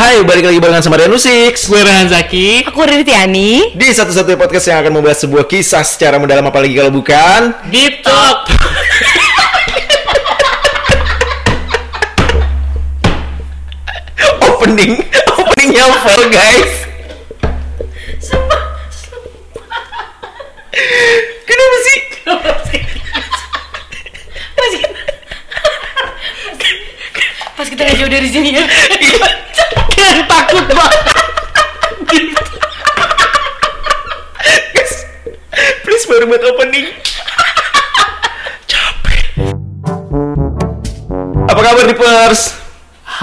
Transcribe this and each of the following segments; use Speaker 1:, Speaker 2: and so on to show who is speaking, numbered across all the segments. Speaker 1: Hai, balik lagi barengan sama Renu Six
Speaker 2: Gue Rehan Zaki
Speaker 3: Aku Riri Tiani
Speaker 1: Di satu-satunya podcast yang akan membahas sebuah kisah secara mendalam apalagi kalau bukan
Speaker 2: di top.
Speaker 1: Opening, openingnya fail guys Kenapa sih?
Speaker 3: Pas kita nggak jauh dari sini ya
Speaker 2: Kan takut banget.
Speaker 1: Guys, please baru buat opening Capek Apa kabar di pers?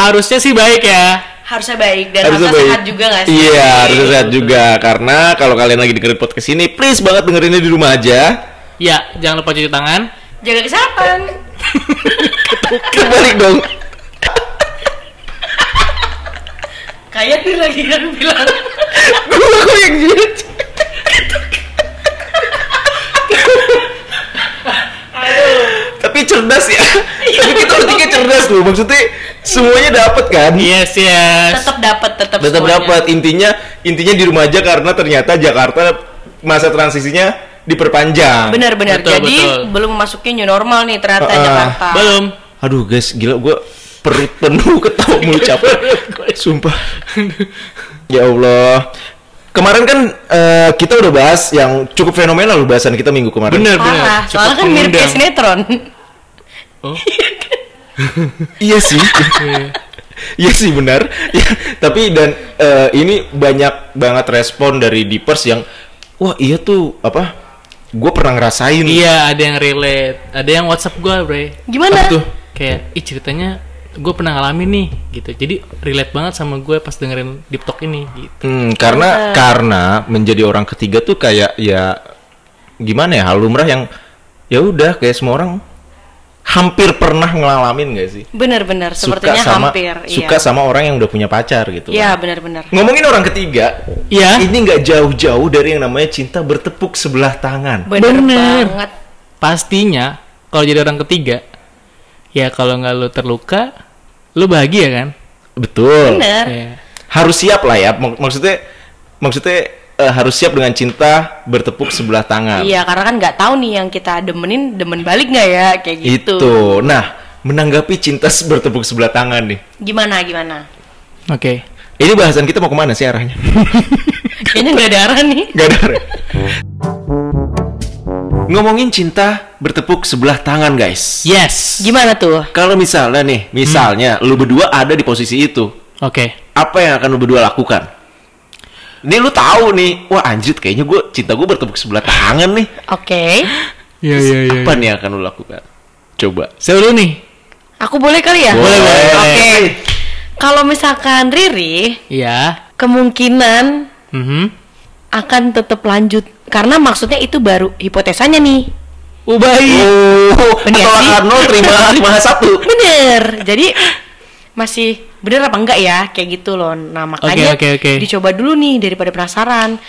Speaker 2: Harusnya sih baik ya.
Speaker 3: Harusnya baik dan harusnya, sehat juga gak sih?
Speaker 1: Iya, harusnya sehat juga Karena kalau kalian lagi dengerin podcast ini Please banget dengerinnya di rumah aja
Speaker 2: Ya, jangan lupa cuci tangan.
Speaker 3: Jaga kesehatan
Speaker 1: Kebalik dong
Speaker 3: Kayak dia lagi kan bilang
Speaker 1: Gue kok yang jilid Tapi cerdas ya Tapi kita bertiga cerdas loh Maksudnya semuanya dapat kan
Speaker 2: Yes, yes.
Speaker 3: Tetap dapat, tetap
Speaker 1: Tetap
Speaker 3: semuanya.
Speaker 1: dapat Intinya intinya di rumah aja karena ternyata Jakarta masa transisinya diperpanjang
Speaker 3: Benar-benar.
Speaker 2: Betul,
Speaker 3: Jadi
Speaker 2: betul.
Speaker 3: belum masuknya new normal nih
Speaker 1: Ah,
Speaker 3: ternyata
Speaker 1: ah.
Speaker 3: Jakarta.
Speaker 2: Belum.
Speaker 1: Aduh guys gila gue perut penuh ketawa mulu capek Sumpah Ya Allah Kemarin kan eh, kita udah bahas yang cukup fenomenal loh bahasan kita minggu kemarin
Speaker 2: Bener, bener.
Speaker 3: Parah.
Speaker 2: Cepat
Speaker 3: Soalnya kan mirip
Speaker 2: mengundang.
Speaker 3: kayak sinetron.
Speaker 2: Oh.
Speaker 1: Iya sih. Iya sih benar. Ya, tapi dan eh, ini banyak banget respon dari Deepers yang wah iya tuh apa? Gue pernah ngerasain.
Speaker 2: Iya, ada yang relate. Ada yang WhatsApp gue, Bre.
Speaker 3: Gimana?
Speaker 1: Apa tuh?
Speaker 2: Kayak, ih ceritanya gue pernah ngalamin nih gitu. Jadi relate banget sama gue pas dengerin di TikTok ini gitu.
Speaker 1: Hmm, karena
Speaker 3: Iya.
Speaker 1: karena menjadi orang ketiga tuh kayak ya gimana ya hal lumrah yang ya udah kayak semua orang hampir pernah ngalamin gak sih?
Speaker 3: Benar-benar. Sepertinya
Speaker 1: suka sama
Speaker 3: hampir.
Speaker 1: suka
Speaker 3: iya.
Speaker 1: sama orang yang udah punya pacar gitu.
Speaker 3: Iya, benar-benar.
Speaker 1: Ngomongin orang ketiga,
Speaker 2: Iya.
Speaker 1: ini nggak jauh-jauh dari yang namanya cinta bertepuk sebelah tangan.
Speaker 3: Benar
Speaker 2: Bener.
Speaker 3: banget.
Speaker 2: Pastinya kalau jadi orang ketiga, ya kalau nggak lu terluka, lu bahagia kan?
Speaker 1: Betul.
Speaker 3: Benar.
Speaker 2: Iya.
Speaker 1: Harus siap lah ya. Mak- maksudnya maksudnya eh, harus siap dengan cinta bertepuk sebelah tangan.
Speaker 3: Iya, karena kan nggak tahu nih yang kita demenin demen balik nggak ya kayak gitu.
Speaker 1: Itu. Nah, menanggapi cinta se- bertepuk sebelah tangan nih.
Speaker 3: Gimana gimana?
Speaker 2: Oke.
Speaker 1: Ini bahasan kita mau kemana sih arahnya?
Speaker 3: Kayaknya nggak ada arah nih.
Speaker 1: Gak ada. arah. Ngomongin cinta bertepuk sebelah tangan, guys.
Speaker 2: Yes.
Speaker 3: Gimana tuh?
Speaker 1: Kalau misalnya nih,
Speaker 3: Hmm.
Speaker 1: misalnya lu berdua ada di posisi itu,
Speaker 2: Oke.
Speaker 1: apa yang akan lu berdua lakukan? Nih lu tahu nih, wah anjir kayaknya gue cinta gue bertepuk sebelah tangan nih.
Speaker 3: Oke.
Speaker 2: Iya, iya, iya.
Speaker 1: Apa nih yang ya akan lu lakukan? Coba.
Speaker 2: Sebelum nih.
Speaker 3: Aku boleh kali ya?
Speaker 1: Boleh, boleh.
Speaker 3: Oke. Kalau misalkan Riri,
Speaker 2: Iya.
Speaker 3: kemungkinan
Speaker 2: Mhm.
Speaker 3: akan tetap lanjut karena maksudnya itu baru hipotesanya nih.
Speaker 2: Ubai.
Speaker 1: Oh,
Speaker 3: Bener sih.
Speaker 1: tolak nol terima terima satu.
Speaker 3: Bener. Jadi masih bener apa enggak ya kayak gitu loh. Nah, makanya
Speaker 2: Oke, oke, oke.
Speaker 3: dicoba dulu nih daripada penasaran.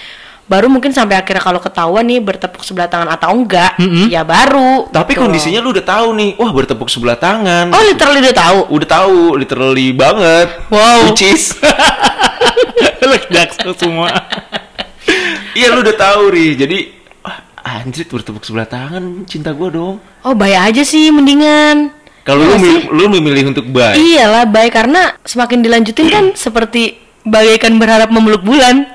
Speaker 3: Baru mungkin sampai akhirnya kalau ketahuan nih bertepuk sebelah tangan atau enggak,
Speaker 2: Mm-mm.
Speaker 3: ya baru.
Speaker 1: Tapi
Speaker 3: gitu.
Speaker 1: kondisinya lu udah tahu nih, wah bertepuk sebelah tangan.
Speaker 3: Oh, literally udah tahu.
Speaker 1: Udah tahu, literally banget.
Speaker 2: Wow.
Speaker 1: Which is-
Speaker 2: Ledak semua.
Speaker 1: Iya lu udah tahu ri. Jadi wah, anjir bertepuk sebelah tangan cinta gue dong.
Speaker 3: Oh, bay aja sih mendingan.
Speaker 1: Kalau
Speaker 3: Iya
Speaker 1: lu
Speaker 3: gak sih? Iya.
Speaker 1: mil- lu memilih untuk bye.
Speaker 3: Iyalah baik karena semakin dilanjutin kan seperti bagaikan berharap memeluk bulan.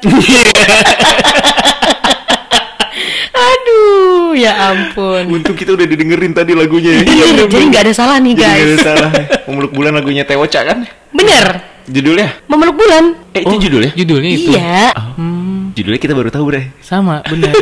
Speaker 3: Aduh, ya ampun.
Speaker 1: Untung kita udah didengerin tadi lagunya. ya.
Speaker 3: Bener, Iya, jadi nggak ada salah nih
Speaker 1: Jadi
Speaker 3: guys.
Speaker 1: nggak ada salah. Memeluk bulan lagunya Tewoca kan?
Speaker 3: Bener,
Speaker 1: Judulnya?
Speaker 3: memeluk bulan.
Speaker 1: Eh
Speaker 3: Oh.
Speaker 1: itu judulnya?
Speaker 2: Judulnya itu.
Speaker 3: Iya,
Speaker 1: Judulnya kita baru tahu deh.
Speaker 2: Sama, benar.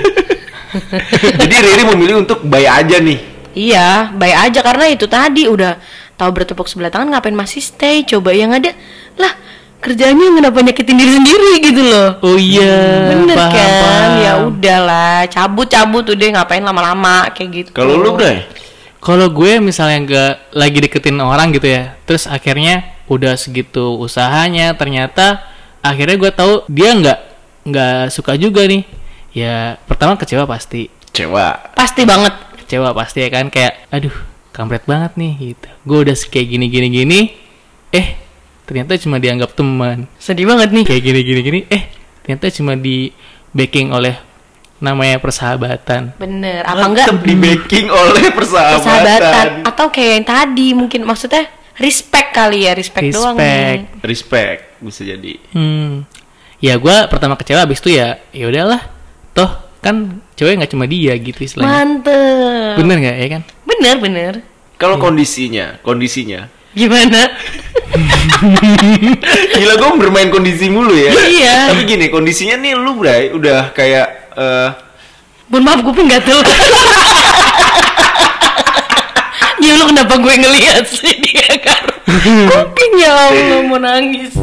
Speaker 1: Jadi Riri memilih untuk bay aja nih.
Speaker 3: iya, baik aja karena itu tadi udah tahu bertepuk sebelah tangan ngapain masih stay? Coba yang ada lah kerjanya kenapa nyakitin diri sendiri gitu loh.
Speaker 2: Oh iya.
Speaker 3: Bener
Speaker 2: paham,
Speaker 3: kan?
Speaker 2: paham.
Speaker 3: Ya udahlah, cabut-cabut tuh deh ngapain lama-lama kayak gitu.
Speaker 1: Kalau lu Bray?
Speaker 2: Kalau gue misalnya nggak lagi deketin orang gitu ya, terus akhirnya udah segitu usahanya, ternyata akhirnya gue tahu dia nggak nggak suka juga nih. Ya pertama kecewa pasti,
Speaker 1: Cewa.
Speaker 3: Pasti banget.
Speaker 2: kecewa pasti ya kan kayak, aduh kampret banget nih gitu. Gue udah kayak gini gini gini, eh ternyata cuma dianggap teman
Speaker 3: Sedih banget nih.
Speaker 2: kayak gini gini gini eh ternyata cuma di backing oleh namanya persahabatan
Speaker 3: Bener. Apa Oh, enggak
Speaker 1: Tetep di backing oleh persahabatan.
Speaker 3: persahabatan atau kayak yang tadi mungkin maksudnya respect kali ya, respect, doang.
Speaker 2: Respect.
Speaker 3: nih.
Speaker 1: Respect bisa jadi.
Speaker 2: hmm ya gua pertama kecewa abis itu ya ya udahlah toh kan cewek nggak cuma dia gitu istilahnya
Speaker 3: Mantep.
Speaker 2: bener nggak ya kan
Speaker 3: Bener bener.
Speaker 1: Kalau
Speaker 3: Hmm.
Speaker 1: kondisinya, kondisinya.
Speaker 3: Gimana?
Speaker 1: Gila gue bermain kondisi mulu ya.
Speaker 3: Iya.
Speaker 1: Tapi gini, kondisinya nih lu Bray udah kayak eh,
Speaker 3: Bun maaf gue pun gatel. ya lu kenapa gue ngeliat sih dia kan? Kuping ya Allah mau nangis.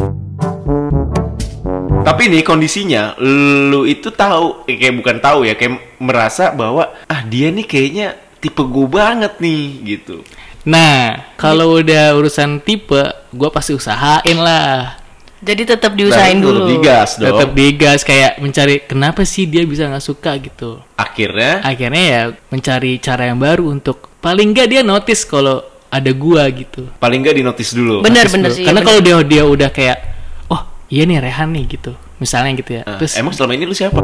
Speaker 1: tapi nih kondisinya lu itu tahu eh, kayak bukan tahu ya kayak merasa bahwa ah dia nih kayaknya tipe gue banget nih gitu.
Speaker 2: nah kalau udah urusan tipe gua pasti usahain lah
Speaker 3: Jadi tetap diusahain
Speaker 1: Nah,
Speaker 3: dulu.
Speaker 1: tetep Digas dong.
Speaker 2: tetap digas kayak mencari kenapa sih dia bisa nggak suka gitu
Speaker 1: Akhirnya
Speaker 2: akhirnya ya mencari cara yang baru untuk paling nggak dia notice kalau ada gua gitu
Speaker 1: paling nggak dinotis dulu.
Speaker 3: Bener.
Speaker 2: Notice dulu.
Speaker 3: sih,
Speaker 2: karena
Speaker 3: bener.
Speaker 2: kalau dia dia udah kayak oh iya nih Rehan nih gitu misalnya gitu ya
Speaker 1: Ah,
Speaker 2: terus
Speaker 1: emang selama ini lu siapa?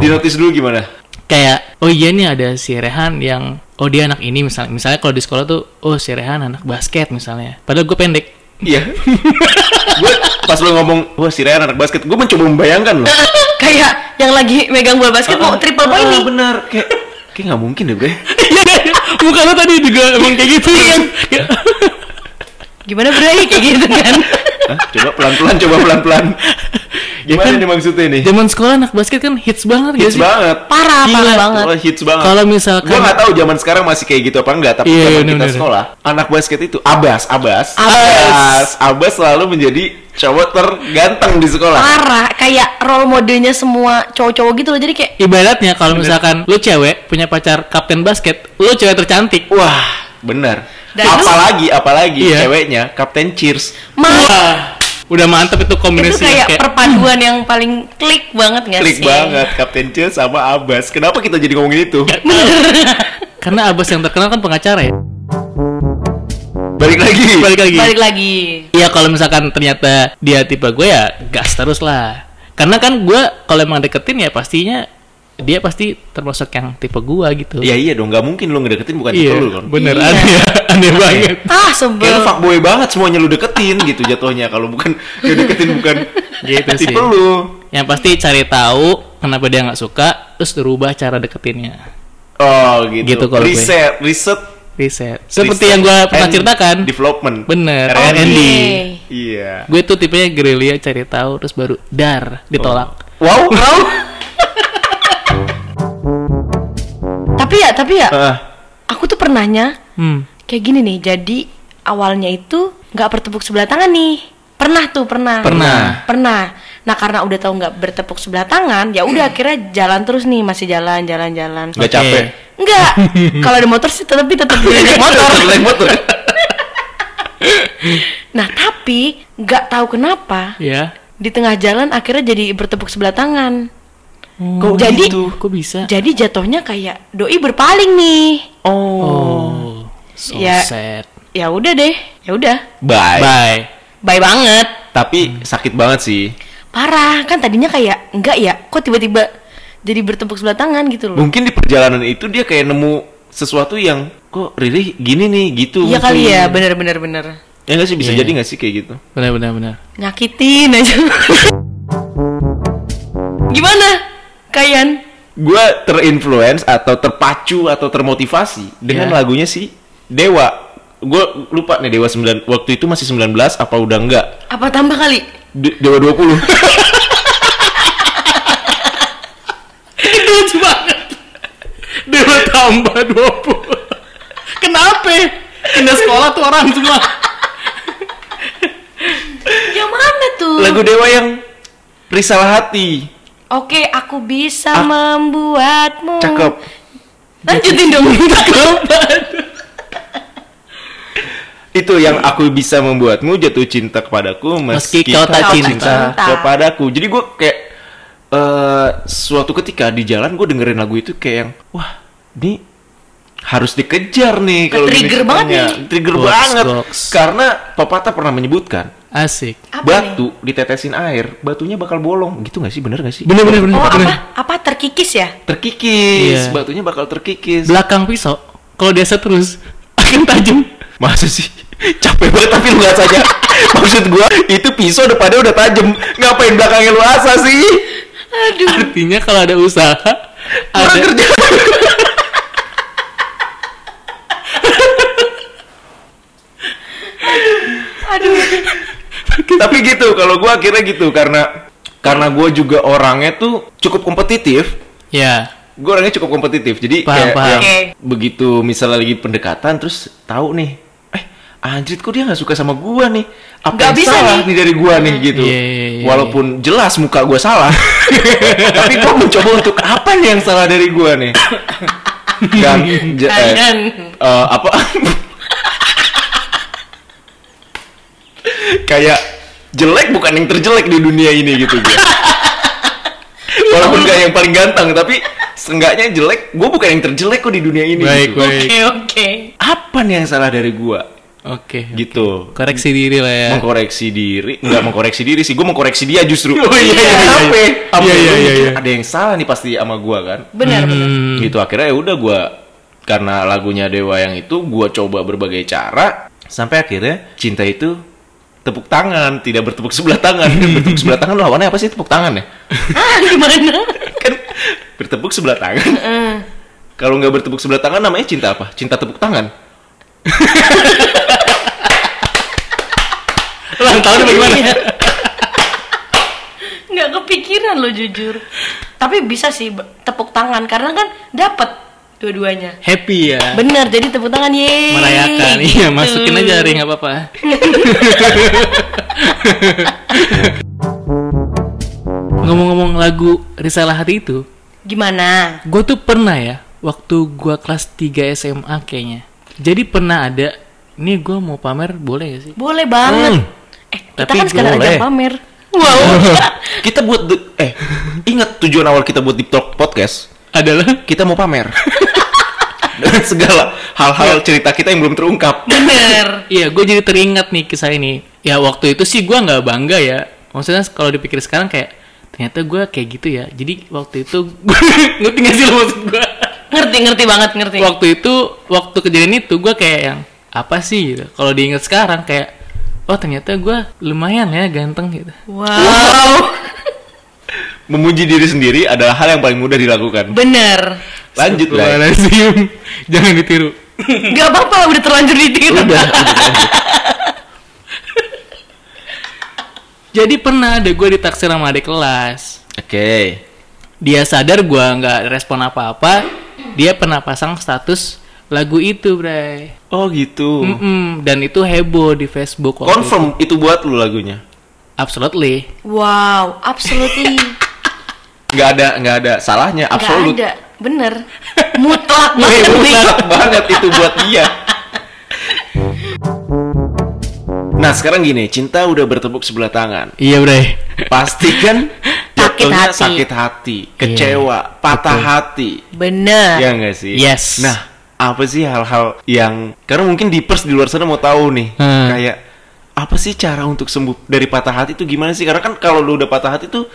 Speaker 1: Dinotis dulu gimana?
Speaker 2: kayak oh iya nih ada si Rehan yang oh dia anak ini misalnya misalnya kalau di sekolah tuh oh si Rehan anak basket misalnya padahal gue pendek
Speaker 1: Iya. gue pas lu ngomong, wah si Ryan anak basket, gue mencoba membayangkan loh. Ah,
Speaker 3: Kayak yang lagi megang bola basket mau Eh, triple point nih.
Speaker 1: benar. Kayak kayak nggak mungkin ya, deh, Bre.
Speaker 2: bukan lo tadi juga emang kayak gitu
Speaker 1: Iya.
Speaker 3: Gimana Bray kayak gitu kan?
Speaker 1: Hah? Ah, Coba pelan-pelan, coba pelan-pelan. Gimana
Speaker 2: kan-
Speaker 1: nih maksudnya nih?
Speaker 2: zaman sekolah anak basket kan hits banget ya
Speaker 1: Hits
Speaker 2: sih
Speaker 1: banget.
Speaker 3: Parah,
Speaker 2: Gila.
Speaker 3: parah banget.
Speaker 1: Wah, hits banget.
Speaker 2: kalau misalkan
Speaker 1: Gue nggak tahu zaman sekarang masih kayak gitu apa enggak, tapi
Speaker 2: Iya,
Speaker 1: zaman
Speaker 2: iya,
Speaker 1: kita
Speaker 2: bener-bener.
Speaker 1: sekolah, anak basket itu abas, abas,
Speaker 3: Abas.
Speaker 1: abas selalu menjadi cowok terganteng di sekolah.
Speaker 3: Parah, kayak role modelnya semua cowok-cowok gitu loh. Jadi kayak
Speaker 2: ibaratnya kalau misalkan lu cewek punya pacar kapten basket lu cewek tercantik
Speaker 1: Wah, benar.
Speaker 3: Dan lu-
Speaker 1: apalagi apalagi
Speaker 2: Iya.
Speaker 1: ceweknya Kapten Cheers. Iya,
Speaker 3: mah
Speaker 2: wah udah mantep itu
Speaker 3: itu
Speaker 2: kombinasi
Speaker 3: kayak,
Speaker 2: yang kayak
Speaker 3: perpaduan yang paling klik banget nggak
Speaker 1: Klik
Speaker 3: sih?
Speaker 1: banget Kapten Cheers sama Abas. Kenapa kita jadi ngomongin itu?
Speaker 2: karena abas yang terkenal kan pengacara ya
Speaker 1: Balik lagi.
Speaker 2: balik lagi
Speaker 3: Balik lagi.
Speaker 2: Iya kalau misalkan ternyata dia tipe gue ya gas terus lah. Karena kan gue kalau emang deketin ya pastinya dia pasti termasuk yang tipe gue gitu.
Speaker 1: Ya iya dong, nggak mungkin lu ngedeketin bukan tipe lu kan.
Speaker 2: bener
Speaker 3: Iya.
Speaker 2: aneh, aneh banget.
Speaker 1: Kayak lu
Speaker 3: Ah sebel.
Speaker 1: fuckboy banget semuanya lu deketin gitu jatuhnya kalau bukan lu deketin bukan
Speaker 2: Gitu sih.
Speaker 1: tipe lu.
Speaker 2: Yang pasti cari tahu kenapa dia nggak suka, terus berubah cara deketinnya.
Speaker 1: Oh gitu.
Speaker 2: Gitu kalau gue.
Speaker 1: riset, riset
Speaker 2: Riset. Seperti
Speaker 1: riset
Speaker 2: yang gue pernah
Speaker 1: and
Speaker 2: ceritakan,
Speaker 1: Development.
Speaker 2: Bener,
Speaker 1: R&D.
Speaker 2: R&D.
Speaker 1: Iya.
Speaker 2: gue tuh tipenya gerilya cari tahu terus baru dar ditolak.
Speaker 1: Wow, wow.
Speaker 3: Tapi ya, tapi ya,
Speaker 1: Ah,
Speaker 3: aku tuh pernahnya
Speaker 1: Oh.
Speaker 2: Hmm.
Speaker 3: kayak gini nih. Jadi awalnya itu nggak bertepuk sebelah tangan nih. Pernah tuh, pernah.
Speaker 2: Pernah.
Speaker 3: Pernah. Nah, karena udah tahu nggak bertepuk sebelah tangan, ya udah akhirnya jalan terus nih, masih jalan, jalan, jalan.
Speaker 1: Hmm. nggak
Speaker 2: Oke.
Speaker 1: capek.
Speaker 3: Enggak. Kalau ada motor sih tetap tetap naik motor.
Speaker 1: Naik motor.
Speaker 3: Nah, tapi nggak tahu kenapa
Speaker 2: Ya.
Speaker 3: di tengah jalan akhirnya jadi bertepuk sebelah tangan.
Speaker 1: Kok
Speaker 3: Oh, Jadi-
Speaker 1: gitu?
Speaker 2: Kok bisa?
Speaker 3: Jadi jatuhnya kayak doi berpaling nih.
Speaker 2: Oh, so
Speaker 3: Ya.
Speaker 2: sad.
Speaker 3: Ya udah deh, ya udah.
Speaker 1: Bye.
Speaker 2: Bye.
Speaker 3: Bye banget.
Speaker 1: Tapi
Speaker 2: Hmm.
Speaker 1: sakit banget sih.
Speaker 3: Parah kan tadinya kayak enggak ya, kok tiba-tiba jadi bertepuk sebelah tangan gitu loh.
Speaker 1: Mungkin di perjalanan itu dia kayak nemu sesuatu yang kok Riri gini nih gitu. mungkin.
Speaker 3: Iya kali ya, bener-bener bener.
Speaker 1: Ya nggak sih bisa
Speaker 2: Iya.
Speaker 1: jadi nggak sih kayak gitu.
Speaker 2: Benar benar benar.
Speaker 3: Nyakitin aja. Gimana? Kayan?
Speaker 1: Gue terinfluence atau terpacu atau termotivasi dengan
Speaker 2: Iya.
Speaker 1: lagunya si Dewa. Gue lupa nih Dewa 9 waktu itu masih 19 apa udah enggak?
Speaker 3: Apa tambah kali?
Speaker 1: De- Dewa 20.
Speaker 2: lucu banget Dewa tambah 20 Kenapa? Pindah sekolah tuh orang
Speaker 3: Iya.
Speaker 2: semua
Speaker 3: Yang mana tuh?
Speaker 1: Lagu Dewa yang Risalah Hati.
Speaker 3: Oke, aku bisa
Speaker 1: Ah.
Speaker 3: membuatmu.
Speaker 1: Cakep.
Speaker 3: Lanjutin dong.
Speaker 1: Itu yang aku bisa membuatmu jatuh cinta kepadaku meski,
Speaker 2: Meski kau tak
Speaker 1: cinta,
Speaker 2: cinta.
Speaker 1: kepadaku. Jadi gue kayak eh suatu ketika di jalan gue dengerin lagu itu kayak yang wah ini harus dikejar nih kalau gini
Speaker 3: Trigger banget
Speaker 1: ceritanya.
Speaker 3: nih.
Speaker 1: Trigger
Speaker 2: Goks,
Speaker 1: banget.
Speaker 2: goks.
Speaker 1: Karena pepatah pernah menyebutkan
Speaker 2: Asik.
Speaker 3: Apa
Speaker 1: batu ditetesin air, batunya bakal bolong. Gitu nggak sih? Bener nggak sih?
Speaker 2: Bener bener bener.
Speaker 3: Oh
Speaker 2: bener.
Speaker 3: apa? Apa terkikis ya?
Speaker 1: Terkikis,
Speaker 2: Iya.
Speaker 1: batunya bakal terkikis.
Speaker 2: Belakang pisau kalau biasa terus akan tajam.
Speaker 1: Masa sih? Capek banget tapi lu nggak saja. Maksud gua itu pisau depannya udah tajem. Ngapain belakangnya lu asa sih?
Speaker 3: Aduh.
Speaker 2: Artinya kalau ada usaha
Speaker 1: Kurang
Speaker 2: ada
Speaker 1: kerja.
Speaker 3: Aduh.
Speaker 1: tapi gitu kalau gua akhirnya gitu karena karena gua juga orangnya tuh cukup kompetitif.
Speaker 2: ya.
Speaker 1: Gue orangnya cukup kompetitif, jadi kayak
Speaker 2: Paham, paham.
Speaker 1: yang
Speaker 3: Oke.
Speaker 1: begitu misalnya lagi pendekatan, terus tahu nih, eh anjrit kok dia nggak suka sama gua nih, apa
Speaker 3: Nggak
Speaker 1: yang
Speaker 3: bisa
Speaker 1: salah
Speaker 3: nih.
Speaker 1: nih dari gua nih gitu.
Speaker 2: Iya, iya, iya,
Speaker 1: Walaupun jelas muka gua salah, tapi gua mencoba untuk apa nih yang salah dari gua nih? Dan je- eh,
Speaker 3: Kalian.
Speaker 1: eh, apa? kayak jelek bukan yang terjelek di dunia ini gitu gua. Walaupun gak yang paling ganteng, tapi seenggaknya jelek. Gue bukan yang terjelek kok di dunia ini.
Speaker 2: Baik,
Speaker 1: gitu.
Speaker 2: baik.
Speaker 3: Oke oke.
Speaker 1: Apa nih yang salah dari gue?
Speaker 2: Oke.
Speaker 1: Gitu.
Speaker 2: Koreksi diri lah ya.
Speaker 1: Mengkoreksi diri, nggak mengkoreksi diri sih. Gue mengkoreksi dia justru.
Speaker 2: Oh, iya, iya, iya.
Speaker 1: Apa? Apa gua
Speaker 2: Iya, iya, iya,
Speaker 1: mikir
Speaker 2: iya.
Speaker 1: Ada yang salah nih pasti sama gue kan.
Speaker 3: Benar benar.
Speaker 2: Hmm.
Speaker 1: Gitu akhirnya ya udah gue karena lagunya Dewa yang itu gue coba berbagai cara sampai akhirnya cinta itu tepuk tangan tidak bertepuk sebelah tangan bertepuk sebelah tangan lawannya apa sih tepuk tangan ya
Speaker 3: Ah gimana?
Speaker 1: kan bertepuk sebelah tangan
Speaker 3: Eh,
Speaker 1: Kalau nggak bertepuk sebelah tangan namanya cinta apa? Cinta tepuk tangan.
Speaker 2: Ulang
Speaker 1: Iya.
Speaker 2: tahunnya bagaimana?
Speaker 3: Nggak kepikiran lo jujur. Tapi bisa sih ba- tepuk tangan karena kan dapat dua-duanya.
Speaker 2: Happy ya.
Speaker 3: Benar, jadi tepuk tangan Gitu. ye.
Speaker 2: Merayakan. Iya, masukin aja hari nggak apa-apa. Ngomong-ngomong lagu Risalah Hati itu,
Speaker 3: Gimana?
Speaker 2: gue tuh pernah ya, waktu gue kelas 3 SMA kayaknya. Jadi pernah ada, ini gue mau pamer boleh gak sih?
Speaker 3: Boleh banget.
Speaker 1: Hmm.
Speaker 3: Eh, kita
Speaker 1: Tapi
Speaker 3: kan sekarang
Speaker 1: boleh.
Speaker 3: ajang pamer. Wow.
Speaker 1: Kita buat the- eh ingat tujuan awal kita buat di Talk Podcast,
Speaker 2: Adalah
Speaker 1: kita mau pamer. Dengan segala hal-hal cerita kita yang belum terungkap.
Speaker 3: Bener.
Speaker 2: Iya, gue jadi teringat nih kisah ini. Ya waktu itu sih gue nggak bangga ya. Maksudnya kalau dipikir sekarang kayak ternyata gue kayak gitu ya. Jadi waktu itu ngerti gak sih lo maksud gue?
Speaker 3: Ngerti, ngerti banget, ngerti.
Speaker 2: Waktu itu waktu kejadian itu gue kayak yang apa sih gitu. Kalau diingat sekarang kayak oh ternyata gue lumayan ya ganteng gitu.
Speaker 3: Wow.
Speaker 1: Memuji diri sendiri adalah hal yang paling mudah dilakukan.
Speaker 3: Bener.
Speaker 1: Lanjut lah.
Speaker 2: Astagfirullahaladzim. Jangan ditiru.
Speaker 3: Gak apa-apa, udah terlanjur ditiru.
Speaker 1: Udah.
Speaker 2: Jadi pernah ada gue ditaksir sama adik kelas.
Speaker 1: Oke.
Speaker 2: dia sadar gua nggak respon apa-apa dia pernah pasang status lagu itu bre
Speaker 1: Oh gitu.
Speaker 2: Mm-mm, dan itu heboh di Facebook waktu itu.
Speaker 1: Confirm itu buat lu lagunya.
Speaker 2: absolutely
Speaker 3: Wow, absolutely.
Speaker 1: Nggak ada nggak ada salahnya absolut.
Speaker 3: Gak ada. Bener. Mutlak
Speaker 1: Eh,
Speaker 3: banget nih.
Speaker 1: mutlak banget itu buat dia. Nah sekarang gini, cinta udah bertepuk sebelah tangan.
Speaker 2: iya bre
Speaker 1: Pasti kan
Speaker 3: Sakit
Speaker 1: jatuhnya
Speaker 3: hati.
Speaker 1: sakit hati, kecewa, patah hati.
Speaker 3: Bener.
Speaker 1: Ya nggak sih?
Speaker 2: Yes.
Speaker 1: Nah, apa sih hal-hal yang karena mungkin deepers di luar sana mau tahu nih,
Speaker 2: Hmm.
Speaker 1: kayak apa sih cara untuk sembuh dari patah hati itu gimana sih? Karena kan kalau lu udah patah hati tuh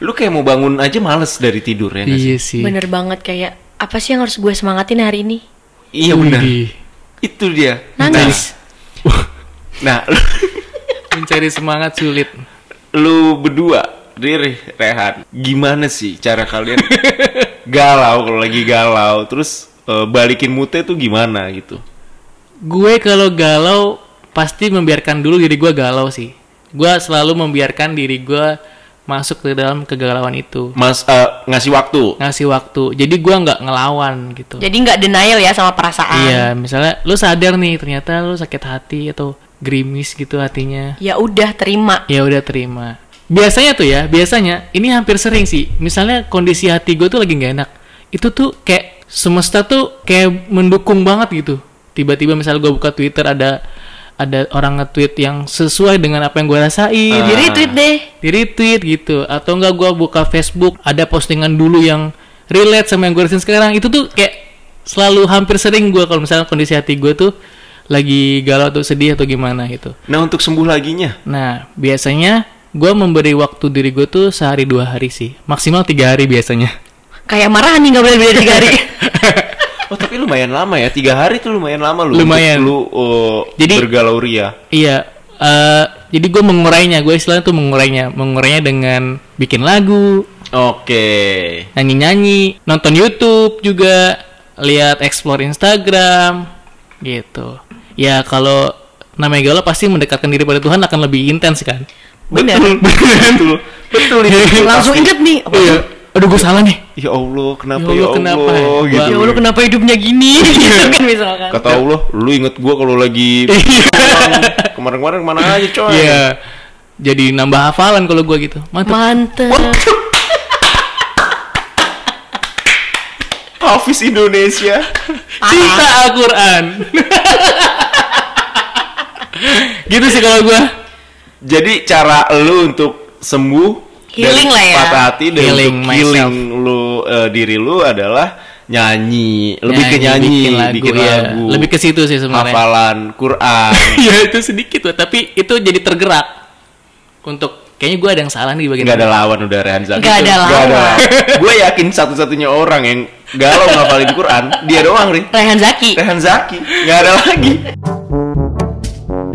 Speaker 1: lu kayak mau bangun aja males dari tidur ya nggak sih?
Speaker 2: iya sih
Speaker 3: Bener banget kayak apa sih yang harus gue semangatin hari ini?
Speaker 1: Iya benar. Itu dia.
Speaker 3: Nangis.
Speaker 1: Nah, nah,
Speaker 2: mencari semangat sulit
Speaker 1: lu berdua Riri, Rehan gimana sih cara kalian galau kalau lagi galau terus eh, balikin mute tuh gimana gitu
Speaker 2: gue kalau galau pasti membiarkan dulu diri gua galau sih gua selalu membiarkan diri gua masuk ke dalam kegalauan itu
Speaker 1: mas eh, ngasih waktu
Speaker 2: ngasih waktu jadi gua nggak ngelawan gitu
Speaker 3: Jadi nggak denial ya sama perasaan.
Speaker 2: Iya, misalnya lu sadar nih ternyata lu sakit hati atau gerimis gitu hatinya.
Speaker 3: Ya udah terima.
Speaker 2: Ya udah terima. Biasanya tuh ya, biasanya ini hampir sering sih. Misalnya kondisi hati gue tuh lagi nggak enak. Itu tuh kayak semesta tuh kayak mendukung banget gitu. Tiba-tiba misalnya gue buka Twitter ada ada orang nge-tweet yang sesuai dengan apa yang gue rasain.
Speaker 1: Iya,
Speaker 3: Di retweet deh.
Speaker 2: Di retweet gitu atau enggak gua buka Facebook ada postingan dulu yang relate sama yang gue rasain sekarang itu tuh kayak selalu hampir sering gue kalau misalnya kondisi hati gue tuh lagi galau atau sedih atau gimana gitu.
Speaker 1: Nah untuk sembuh laginya
Speaker 2: Nah, biasanya gue memberi waktu diri gue tuh sehari dua hari sih. Maksimal tiga hari biasanya.
Speaker 3: Kayak marah nih nggak boleh beda tiga hari.
Speaker 1: Oh tapi lumayan lama ya Tiga hari tuh lumayan lama lu
Speaker 2: Lumayan.
Speaker 1: untuk Lu uh,
Speaker 2: Jadi-
Speaker 1: bergalau ria
Speaker 2: Iya, eh, jadi gue mengurainya. Gue istilahnya tuh mengurainya. Mengurainya dengan bikin lagu,
Speaker 1: Oke
Speaker 2: nyanyi-nyanyi, nonton YouTube juga, lihat explore Instagram, gitu. Ya kalau namanya galau pasti mendekatkan diri pada Tuhan akan lebih intens kan.
Speaker 3: Bener.
Speaker 1: Betul Betul Betul itu
Speaker 3: Langsung
Speaker 1: pasti.
Speaker 3: inget nih. Apa?
Speaker 2: Iya. Aduh gue salah nih.
Speaker 1: Ya Allah kenapa
Speaker 2: Ya Allah,
Speaker 1: ya Allah,
Speaker 2: kenapa?
Speaker 1: gitu.
Speaker 3: Ya Allah kenapa hidupnya gini?
Speaker 1: Iya.
Speaker 3: gitu kan misalkan.
Speaker 1: Kata Allah Lu inget gua kalau lagi Kemarin-kemarin kemana aja coy
Speaker 2: Iya. Jadi nambah hafalan kalau gue gitu. Mantap.
Speaker 3: Mantep.
Speaker 1: Hafiz Indonesia
Speaker 2: Cinta Al-Quran. gitu sih kalau gue.
Speaker 1: Jadi cara lu untuk sembuh dari
Speaker 3: Healing lah ya.
Speaker 1: patah hati dan
Speaker 2: Healing
Speaker 1: untuk
Speaker 2: myself.
Speaker 1: healing lu eh, diri lu adalah nyanyi, lebih ke nyanyi,
Speaker 2: bikin lagu, iya. Lebih ke situ sih sebenarnya.
Speaker 1: hafalan Quran.
Speaker 2: Iya itu sedikit lah, tapi itu jadi tergerak untuk kayaknya gue ada yang salah nih di bagian
Speaker 1: Gak ada lawan udah Rehanza.
Speaker 3: Nggak ada lawan.
Speaker 1: Gue yakin satu-satunya orang yang galau ngapalin Quran dia doang nih.
Speaker 3: Rehan Zaki.
Speaker 1: Rehan Zaki. Gak ada lagi.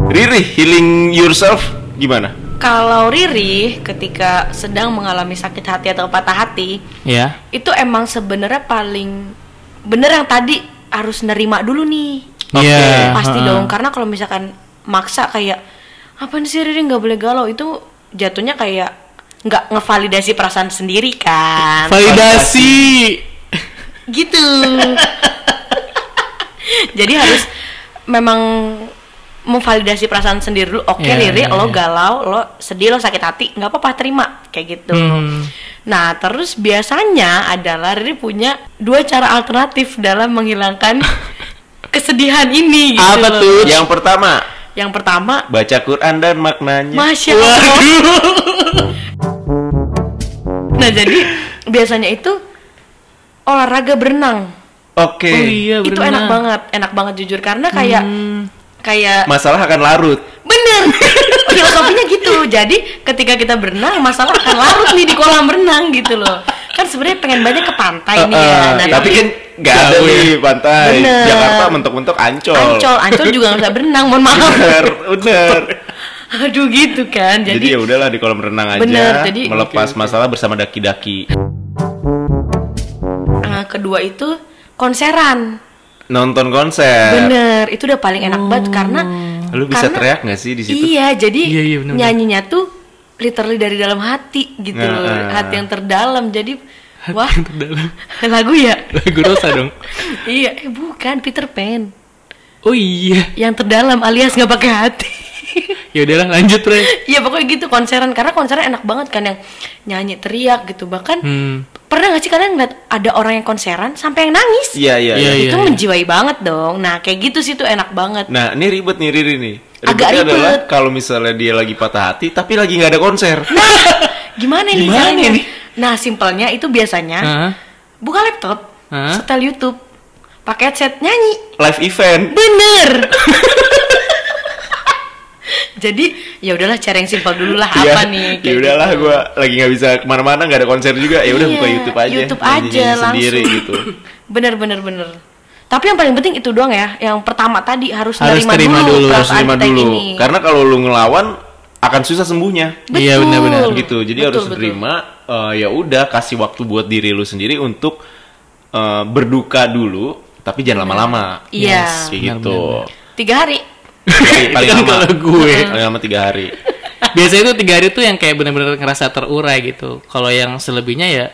Speaker 1: Riri, healing yourself gimana?
Speaker 3: Kalau Riri ketika sedang mengalami sakit hati atau patah hati,
Speaker 2: ya.
Speaker 3: itu emang sebenarnya paling bener yang tadi harus nerima dulu nih.
Speaker 1: Oke.
Speaker 2: Iya.
Speaker 3: Pasti
Speaker 2: heeh.
Speaker 3: dong, karena kalau misalkan maksa kayak apa sih Riri nggak boleh galau itu jatuhnya kayak nggak ngevalidasi perasaan sendiri kan.
Speaker 2: Validasi.
Speaker 3: gitu jadi harus memang memvalidasi perasaan sendiri dulu oke
Speaker 2: Iya,
Speaker 3: Riri
Speaker 2: iya, iya.
Speaker 3: lo galau lo sedih lo sakit hati nggak apa-apa terima kayak gitu
Speaker 2: Hmm.
Speaker 3: nah terus biasanya adalah Riri punya dua cara alternatif dalam menghilangkan kesedihan ini gitu
Speaker 2: Apa
Speaker 3: loh.
Speaker 2: tuh?
Speaker 1: Yang pertama,
Speaker 3: yang pertama
Speaker 1: baca Quran dan maknanya.
Speaker 3: masya Allah nah jadi biasanya itu olahraga berenang
Speaker 1: Oke.
Speaker 2: Oh iya benar.
Speaker 3: itu enak banget enak banget jujur karena kayak
Speaker 2: Hmm.
Speaker 3: kayak
Speaker 1: Masalah akan larut.
Speaker 3: bener filosofinya gitu jadi ketika kita berenang masalah akan larut nih di kolam renang gitu loh kan sebenarnya pengen banyak ke pantai nih
Speaker 1: Eh,
Speaker 3: ya
Speaker 1: eh,
Speaker 3: Nah,
Speaker 1: tapi kan nggak ada
Speaker 2: Jauh ya.
Speaker 1: nih pantai.
Speaker 3: Bener.
Speaker 1: Jakarta mentok-mentok ancol.
Speaker 3: ancol ancol juga nggak bisa berenang mohon maaf
Speaker 1: Bener, bener.
Speaker 3: aduh gitu kan
Speaker 1: Jadi,
Speaker 3: jadi,
Speaker 1: ya udahlah di kolam renang aja.
Speaker 3: Bener, jadi-
Speaker 1: melepas
Speaker 2: Oke, oke.
Speaker 1: masalah bersama daki-daki.
Speaker 3: eh, kedua itu konseran
Speaker 1: Nonton konser.
Speaker 3: bener itu udah paling enak banget karena
Speaker 1: Eh. Oh. Lu bisa
Speaker 3: karena-
Speaker 1: teriak nggak sih di situ?
Speaker 3: Iya, jadi
Speaker 2: Iya, iya, benar-benar.
Speaker 3: nyanyinya tuh literally dari dalam hati gitu
Speaker 1: Nah,
Speaker 3: loh,
Speaker 1: eh.
Speaker 3: hati yang terdalam. Jadi
Speaker 2: Hati
Speaker 3: wah,
Speaker 2: yang terdalam.
Speaker 3: lagu ya?
Speaker 2: Lagu Rosa dong.
Speaker 3: iya, eh, bukan Peter Pan.
Speaker 2: Oh iya.
Speaker 3: Yang terdalam alias nggak pakai hati.
Speaker 2: Ya udahlah lanjut Re.
Speaker 3: Iya pokoknya gitu konseran karena konseran enak banget kan yang nyanyi teriak gitu bahkan
Speaker 2: Hmm.
Speaker 3: pernah nggak sih kalian ngeliat ada orang yang konseran sampai yang nangis
Speaker 1: Iya, iya.
Speaker 2: Iya,
Speaker 1: iya.
Speaker 2: iya.
Speaker 3: itu menjiwai banget dong nah kayak gitu sih tuh enak banget
Speaker 1: Nah, ini ribet nih Riri nih.
Speaker 3: Agak
Speaker 1: Ribetnya
Speaker 3: ribet. Nah.
Speaker 1: adalah kalau misalnya dia lagi patah hati tapi lagi nggak ada konser.
Speaker 3: gimana nih
Speaker 2: Gimana
Speaker 3: caranya?
Speaker 2: nih?
Speaker 3: nah simpelnya itu biasanya
Speaker 2: Heeh.
Speaker 3: buka laptop,
Speaker 2: Hah?
Speaker 3: setel YouTube, pakai headset nyanyi.
Speaker 1: Live event.
Speaker 3: Bener. Jadi ya udahlah cara yang simpel dulu lah
Speaker 1: Iya,
Speaker 3: apa
Speaker 1: Ya
Speaker 3: nih. kayak
Speaker 1: udahlah
Speaker 3: gitu.
Speaker 1: gua lagi nggak bisa kemana mana nggak ada konser juga. Ya udah
Speaker 3: Iya,
Speaker 1: buka YouTube aja.
Speaker 3: YouTube
Speaker 1: nyanyi-nyanyi
Speaker 3: aja langsung.
Speaker 1: sendiri gitu.
Speaker 3: Bener bener bener. Tapi yang paling penting itu doang ya. Yang pertama tadi harus,
Speaker 2: Harus
Speaker 3: nerima,
Speaker 2: terima
Speaker 3: dulu,
Speaker 2: dulu, harus
Speaker 1: Harus
Speaker 3: perasaan
Speaker 1: terima
Speaker 3: kita yang
Speaker 1: dulu.
Speaker 3: ini.
Speaker 1: Karena kalau lu ngelawan akan susah sembuhnya.
Speaker 3: Betul.
Speaker 2: Iya, benar-benar.
Speaker 1: gitu jadi
Speaker 3: Betul,
Speaker 1: harus
Speaker 3: betul.
Speaker 1: terima eh, ya udah kasih waktu buat diri lu sendiri untuk eh, berduka dulu tapi jangan lama-lama
Speaker 3: Iya.
Speaker 1: Yes, kayak
Speaker 2: Benar,
Speaker 1: gitu
Speaker 2: benar,
Speaker 3: Tiga hari.
Speaker 1: Jadi paling
Speaker 2: Itu kan
Speaker 1: lama
Speaker 2: kalau gue.
Speaker 1: paling lama tiga hari
Speaker 2: Biasanya itu tiga hari tuh yang kayak bener-bener ngerasa terurai gitu. Kalau yang selebihnya ya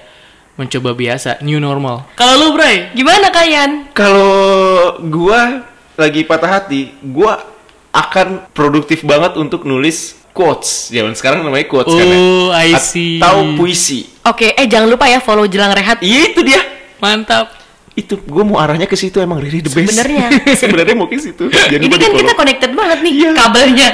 Speaker 2: mencoba biasa, new normal. Kalau lu Bray,
Speaker 3: Gimana kalian?
Speaker 1: kalau gua lagi patah hati gua akan produktif banget untuk nulis quotes zaman sekarang namanya quotes kan ya.
Speaker 2: Oh, I see.
Speaker 1: atau puisi
Speaker 3: Oke, eh jangan lupa ya follow Jelang Rehat.
Speaker 1: iya itu dia
Speaker 2: mantap.
Speaker 1: itu gue mau arahnya ke situ emang Riri the best
Speaker 3: Sebenarnya.
Speaker 1: sebenarnya mau ke situ Jangan
Speaker 3: Ini
Speaker 1: lupa
Speaker 3: kan kita
Speaker 1: di-follow.
Speaker 3: connected banget nih
Speaker 1: Iya.
Speaker 3: kabelnya.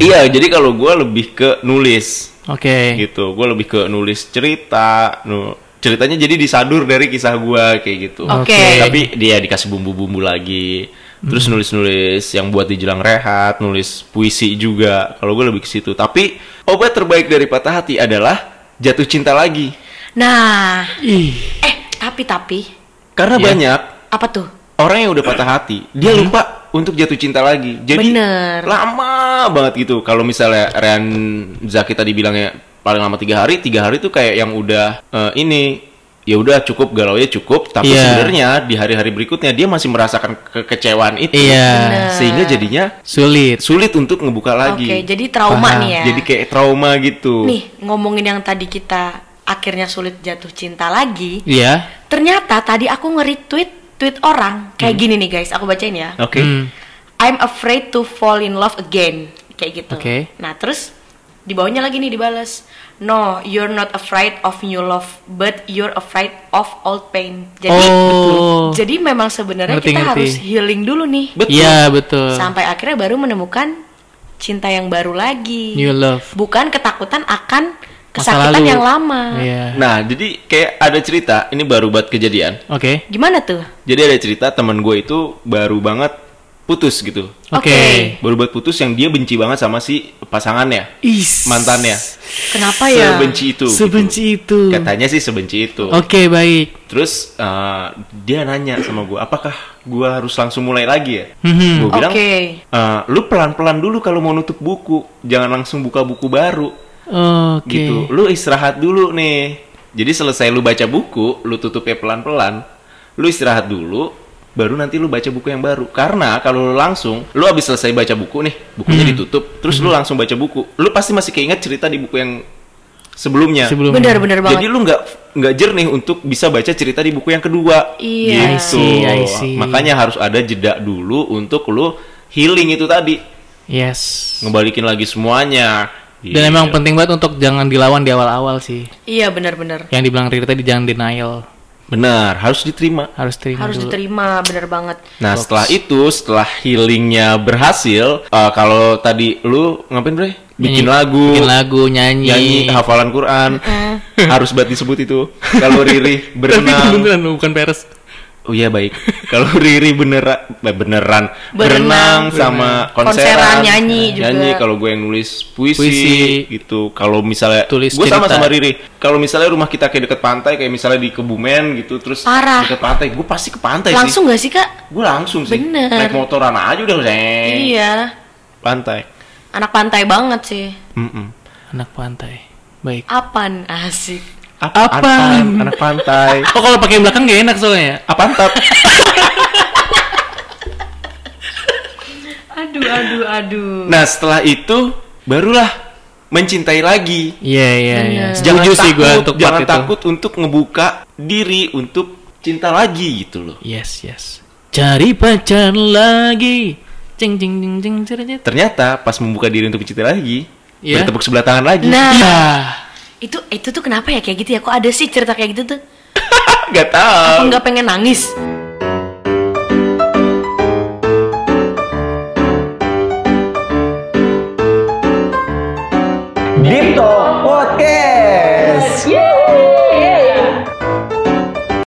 Speaker 1: Iya, jadi kalau gue lebih ke nulis
Speaker 2: Oke.
Speaker 1: gitu, gue lebih ke nulis cerita, nu- ceritanya jadi disadur dari kisah gua kayak gitu
Speaker 3: Oke.
Speaker 1: tapi dia dikasih bumbu-bumbu lagi terus nulis-nulis yang buat di jelang rehat nulis puisi juga kalau gue lebih ke situ tapi obat terbaik dari patah hati adalah jatuh cinta lagi
Speaker 3: Nah,
Speaker 2: Ih,
Speaker 3: eh tapi tapi
Speaker 1: karena
Speaker 2: Iya.
Speaker 1: banyak
Speaker 3: apa tuh?
Speaker 1: orang yang udah patah hati dia
Speaker 2: Hmm.
Speaker 1: lupa untuk jatuh cinta lagi jadi
Speaker 3: Bener.
Speaker 1: lama banget gitu kalau misalnya Rehan Zaki tadi bilangnya paling lama tiga hari tiga hari tuh kayak yang udah eh, ini ya udah cukup galau ya cukup tapi
Speaker 2: Iya.
Speaker 1: sebenarnya di hari-hari berikutnya dia masih merasakan kekecewaan itu
Speaker 2: Iya.
Speaker 3: Bener.
Speaker 1: sehingga jadinya
Speaker 2: sulit.
Speaker 1: sulit untuk ngebuka lagi
Speaker 3: Oke, jadi trauma
Speaker 2: Paham.
Speaker 3: nih ya.
Speaker 1: Jadi kayak trauma gitu
Speaker 3: Nih ngomongin yang tadi kita akhirnya sulit jatuh cinta lagi.
Speaker 2: Iya.
Speaker 3: Ternyata tadi aku nge-retweet tweet orang kayak gini nih guys, aku bacain ya.
Speaker 1: oke
Speaker 2: Hmm.
Speaker 3: I'm afraid to fall in love again kayak gitu.
Speaker 2: Oke.
Speaker 3: Nah terus di bawahnya lagi nih dibales No, you're not afraid of new love, but you're afraid of old pain. Jadi,
Speaker 2: Oh.
Speaker 3: jadi memang sebenarnya
Speaker 2: Ngerti,
Speaker 3: kita
Speaker 2: ngerti.
Speaker 3: harus healing dulu nih.
Speaker 1: Betul.
Speaker 2: Iya betul.
Speaker 3: sampai akhirnya baru menemukan cinta yang baru lagi.
Speaker 2: New love.
Speaker 3: Bukan ketakutan akan
Speaker 2: Masa
Speaker 3: kesakitan
Speaker 2: lalu.
Speaker 3: yang lama.
Speaker 2: Iya.
Speaker 1: nah jadi kayak ada cerita ini baru buat kejadian
Speaker 2: Oke.
Speaker 3: Gimana tuh?
Speaker 1: Jadi ada cerita teman gue itu baru banget putus gitu.
Speaker 2: Oke.
Speaker 1: Baru buat putus yang dia benci banget sama si pasangannya,
Speaker 2: Is.
Speaker 1: mantannya.
Speaker 3: Kenapa ya?
Speaker 1: Sebenci itu. gitu.
Speaker 2: Oh, iya. Sebenci itu.
Speaker 1: Katanya sih sebenci itu.
Speaker 2: Oke baik.
Speaker 1: Terus eh, dia nanya sama gue, apakah gue harus langsung mulai lagi ya? Gue
Speaker 2: Hmm.
Speaker 1: bilang,
Speaker 3: Oke.
Speaker 1: "Eh, lu pelan-pelan dulu kalau mau nutup buku, jangan langsung buka buku baru
Speaker 2: Oke.
Speaker 1: gitu. Lu istirahat dulu nih. Jadi selesai lu baca buku, lu tutupnya pelan-pelan. Lu istirahat dulu, baru nanti lu baca buku yang baru. Karena kalau lu langsung, lu habis selesai baca buku nih, bukunya
Speaker 2: Hmm.
Speaker 1: ditutup, terus lu langsung baca buku. Lu pasti masih keinget cerita di buku yang sebelumnya.
Speaker 2: Sebelumnya.
Speaker 3: Benar-benar banget.
Speaker 1: Jadi lu nggak nggak jernih untuk bisa baca cerita di buku yang kedua. Gitu.
Speaker 3: Iya.
Speaker 2: I see, I see.
Speaker 1: Makanya harus ada jeda dulu untuk lu healing itu tadi,
Speaker 2: Yes.
Speaker 1: ngebalikin lagi semuanya.
Speaker 2: Dan
Speaker 1: Iya.
Speaker 2: emang penting banget untuk jangan dilawan di awal-awal sih.
Speaker 3: Iya benar-benar.
Speaker 2: Yang dibilang Riri tadi jangan denial,
Speaker 1: benar, harus diterima.
Speaker 2: harus terima
Speaker 3: Harus
Speaker 2: dulu.
Speaker 3: diterima, benar banget.
Speaker 1: Nah setelah itu setelah healingnya berhasil, eh, kalau tadi lu ngapain bre? Bikin
Speaker 2: Nyanyi-
Speaker 1: lagu,
Speaker 2: bikin lagu, nyanyi.
Speaker 1: nyanyi hafalan Quran, harus banget disebut itu. Kalau Riri
Speaker 2: Tapi itu
Speaker 1: berenang,
Speaker 2: beneran bukan peres.
Speaker 1: oh iya baik. Kalau Riri benera, eh, beneran
Speaker 3: Berenang.
Speaker 1: berenang sama konseran,
Speaker 3: Konseran, nyanyi juga.
Speaker 1: kalau gue yang nulis puisi,
Speaker 2: Puisi.
Speaker 1: gitu. Kalau misalnya,
Speaker 2: Tulis
Speaker 1: gue sama
Speaker 2: cerita.
Speaker 1: sama Riri. Kalau misalnya rumah kita kayak deket pantai, kayak misalnya di Kebumen gitu, terus
Speaker 3: Parah.
Speaker 1: deket pantai, gue pasti ke pantai sih.
Speaker 3: Langsung gak sih kak?
Speaker 1: Gue langsung sih
Speaker 3: Bener.
Speaker 1: naik motoran aja udah zeng.
Speaker 3: Iya.
Speaker 1: Pantai.
Speaker 3: Anak pantai banget sih.
Speaker 1: Mm-mm.
Speaker 2: Anak pantai. Baik.
Speaker 3: Apan asik.
Speaker 1: Ap-
Speaker 2: Apaan?
Speaker 1: apaan? Anak pantai.
Speaker 2: Oh kalau pakai belakang gak enak soalnya. ya?
Speaker 1: Apaan tat?
Speaker 3: Aduh, aduh, aduh.
Speaker 1: Nah setelah itu barulah mencintai lagi.
Speaker 2: Iya iya iya.
Speaker 3: Bener.
Speaker 2: Setuju sih gue untuk part
Speaker 1: jangan
Speaker 2: itu.
Speaker 1: takut untuk ngebuka diri untuk cinta lagi gitu loh.
Speaker 2: Yes yes. Cari pacar lagi. Cing cing cing cing cerita.
Speaker 1: Ternyata pas membuka diri untuk mencintai lagi,
Speaker 2: Iya.
Speaker 1: bertepuk sebelah tangan lagi.
Speaker 3: Nah,
Speaker 2: Iya.
Speaker 3: itu itu tuh kenapa ya kayak gitu ya? Kok ada sih cerita kayak gitu tuh?
Speaker 1: Gak tau.
Speaker 3: Apa nggak pengen nangis?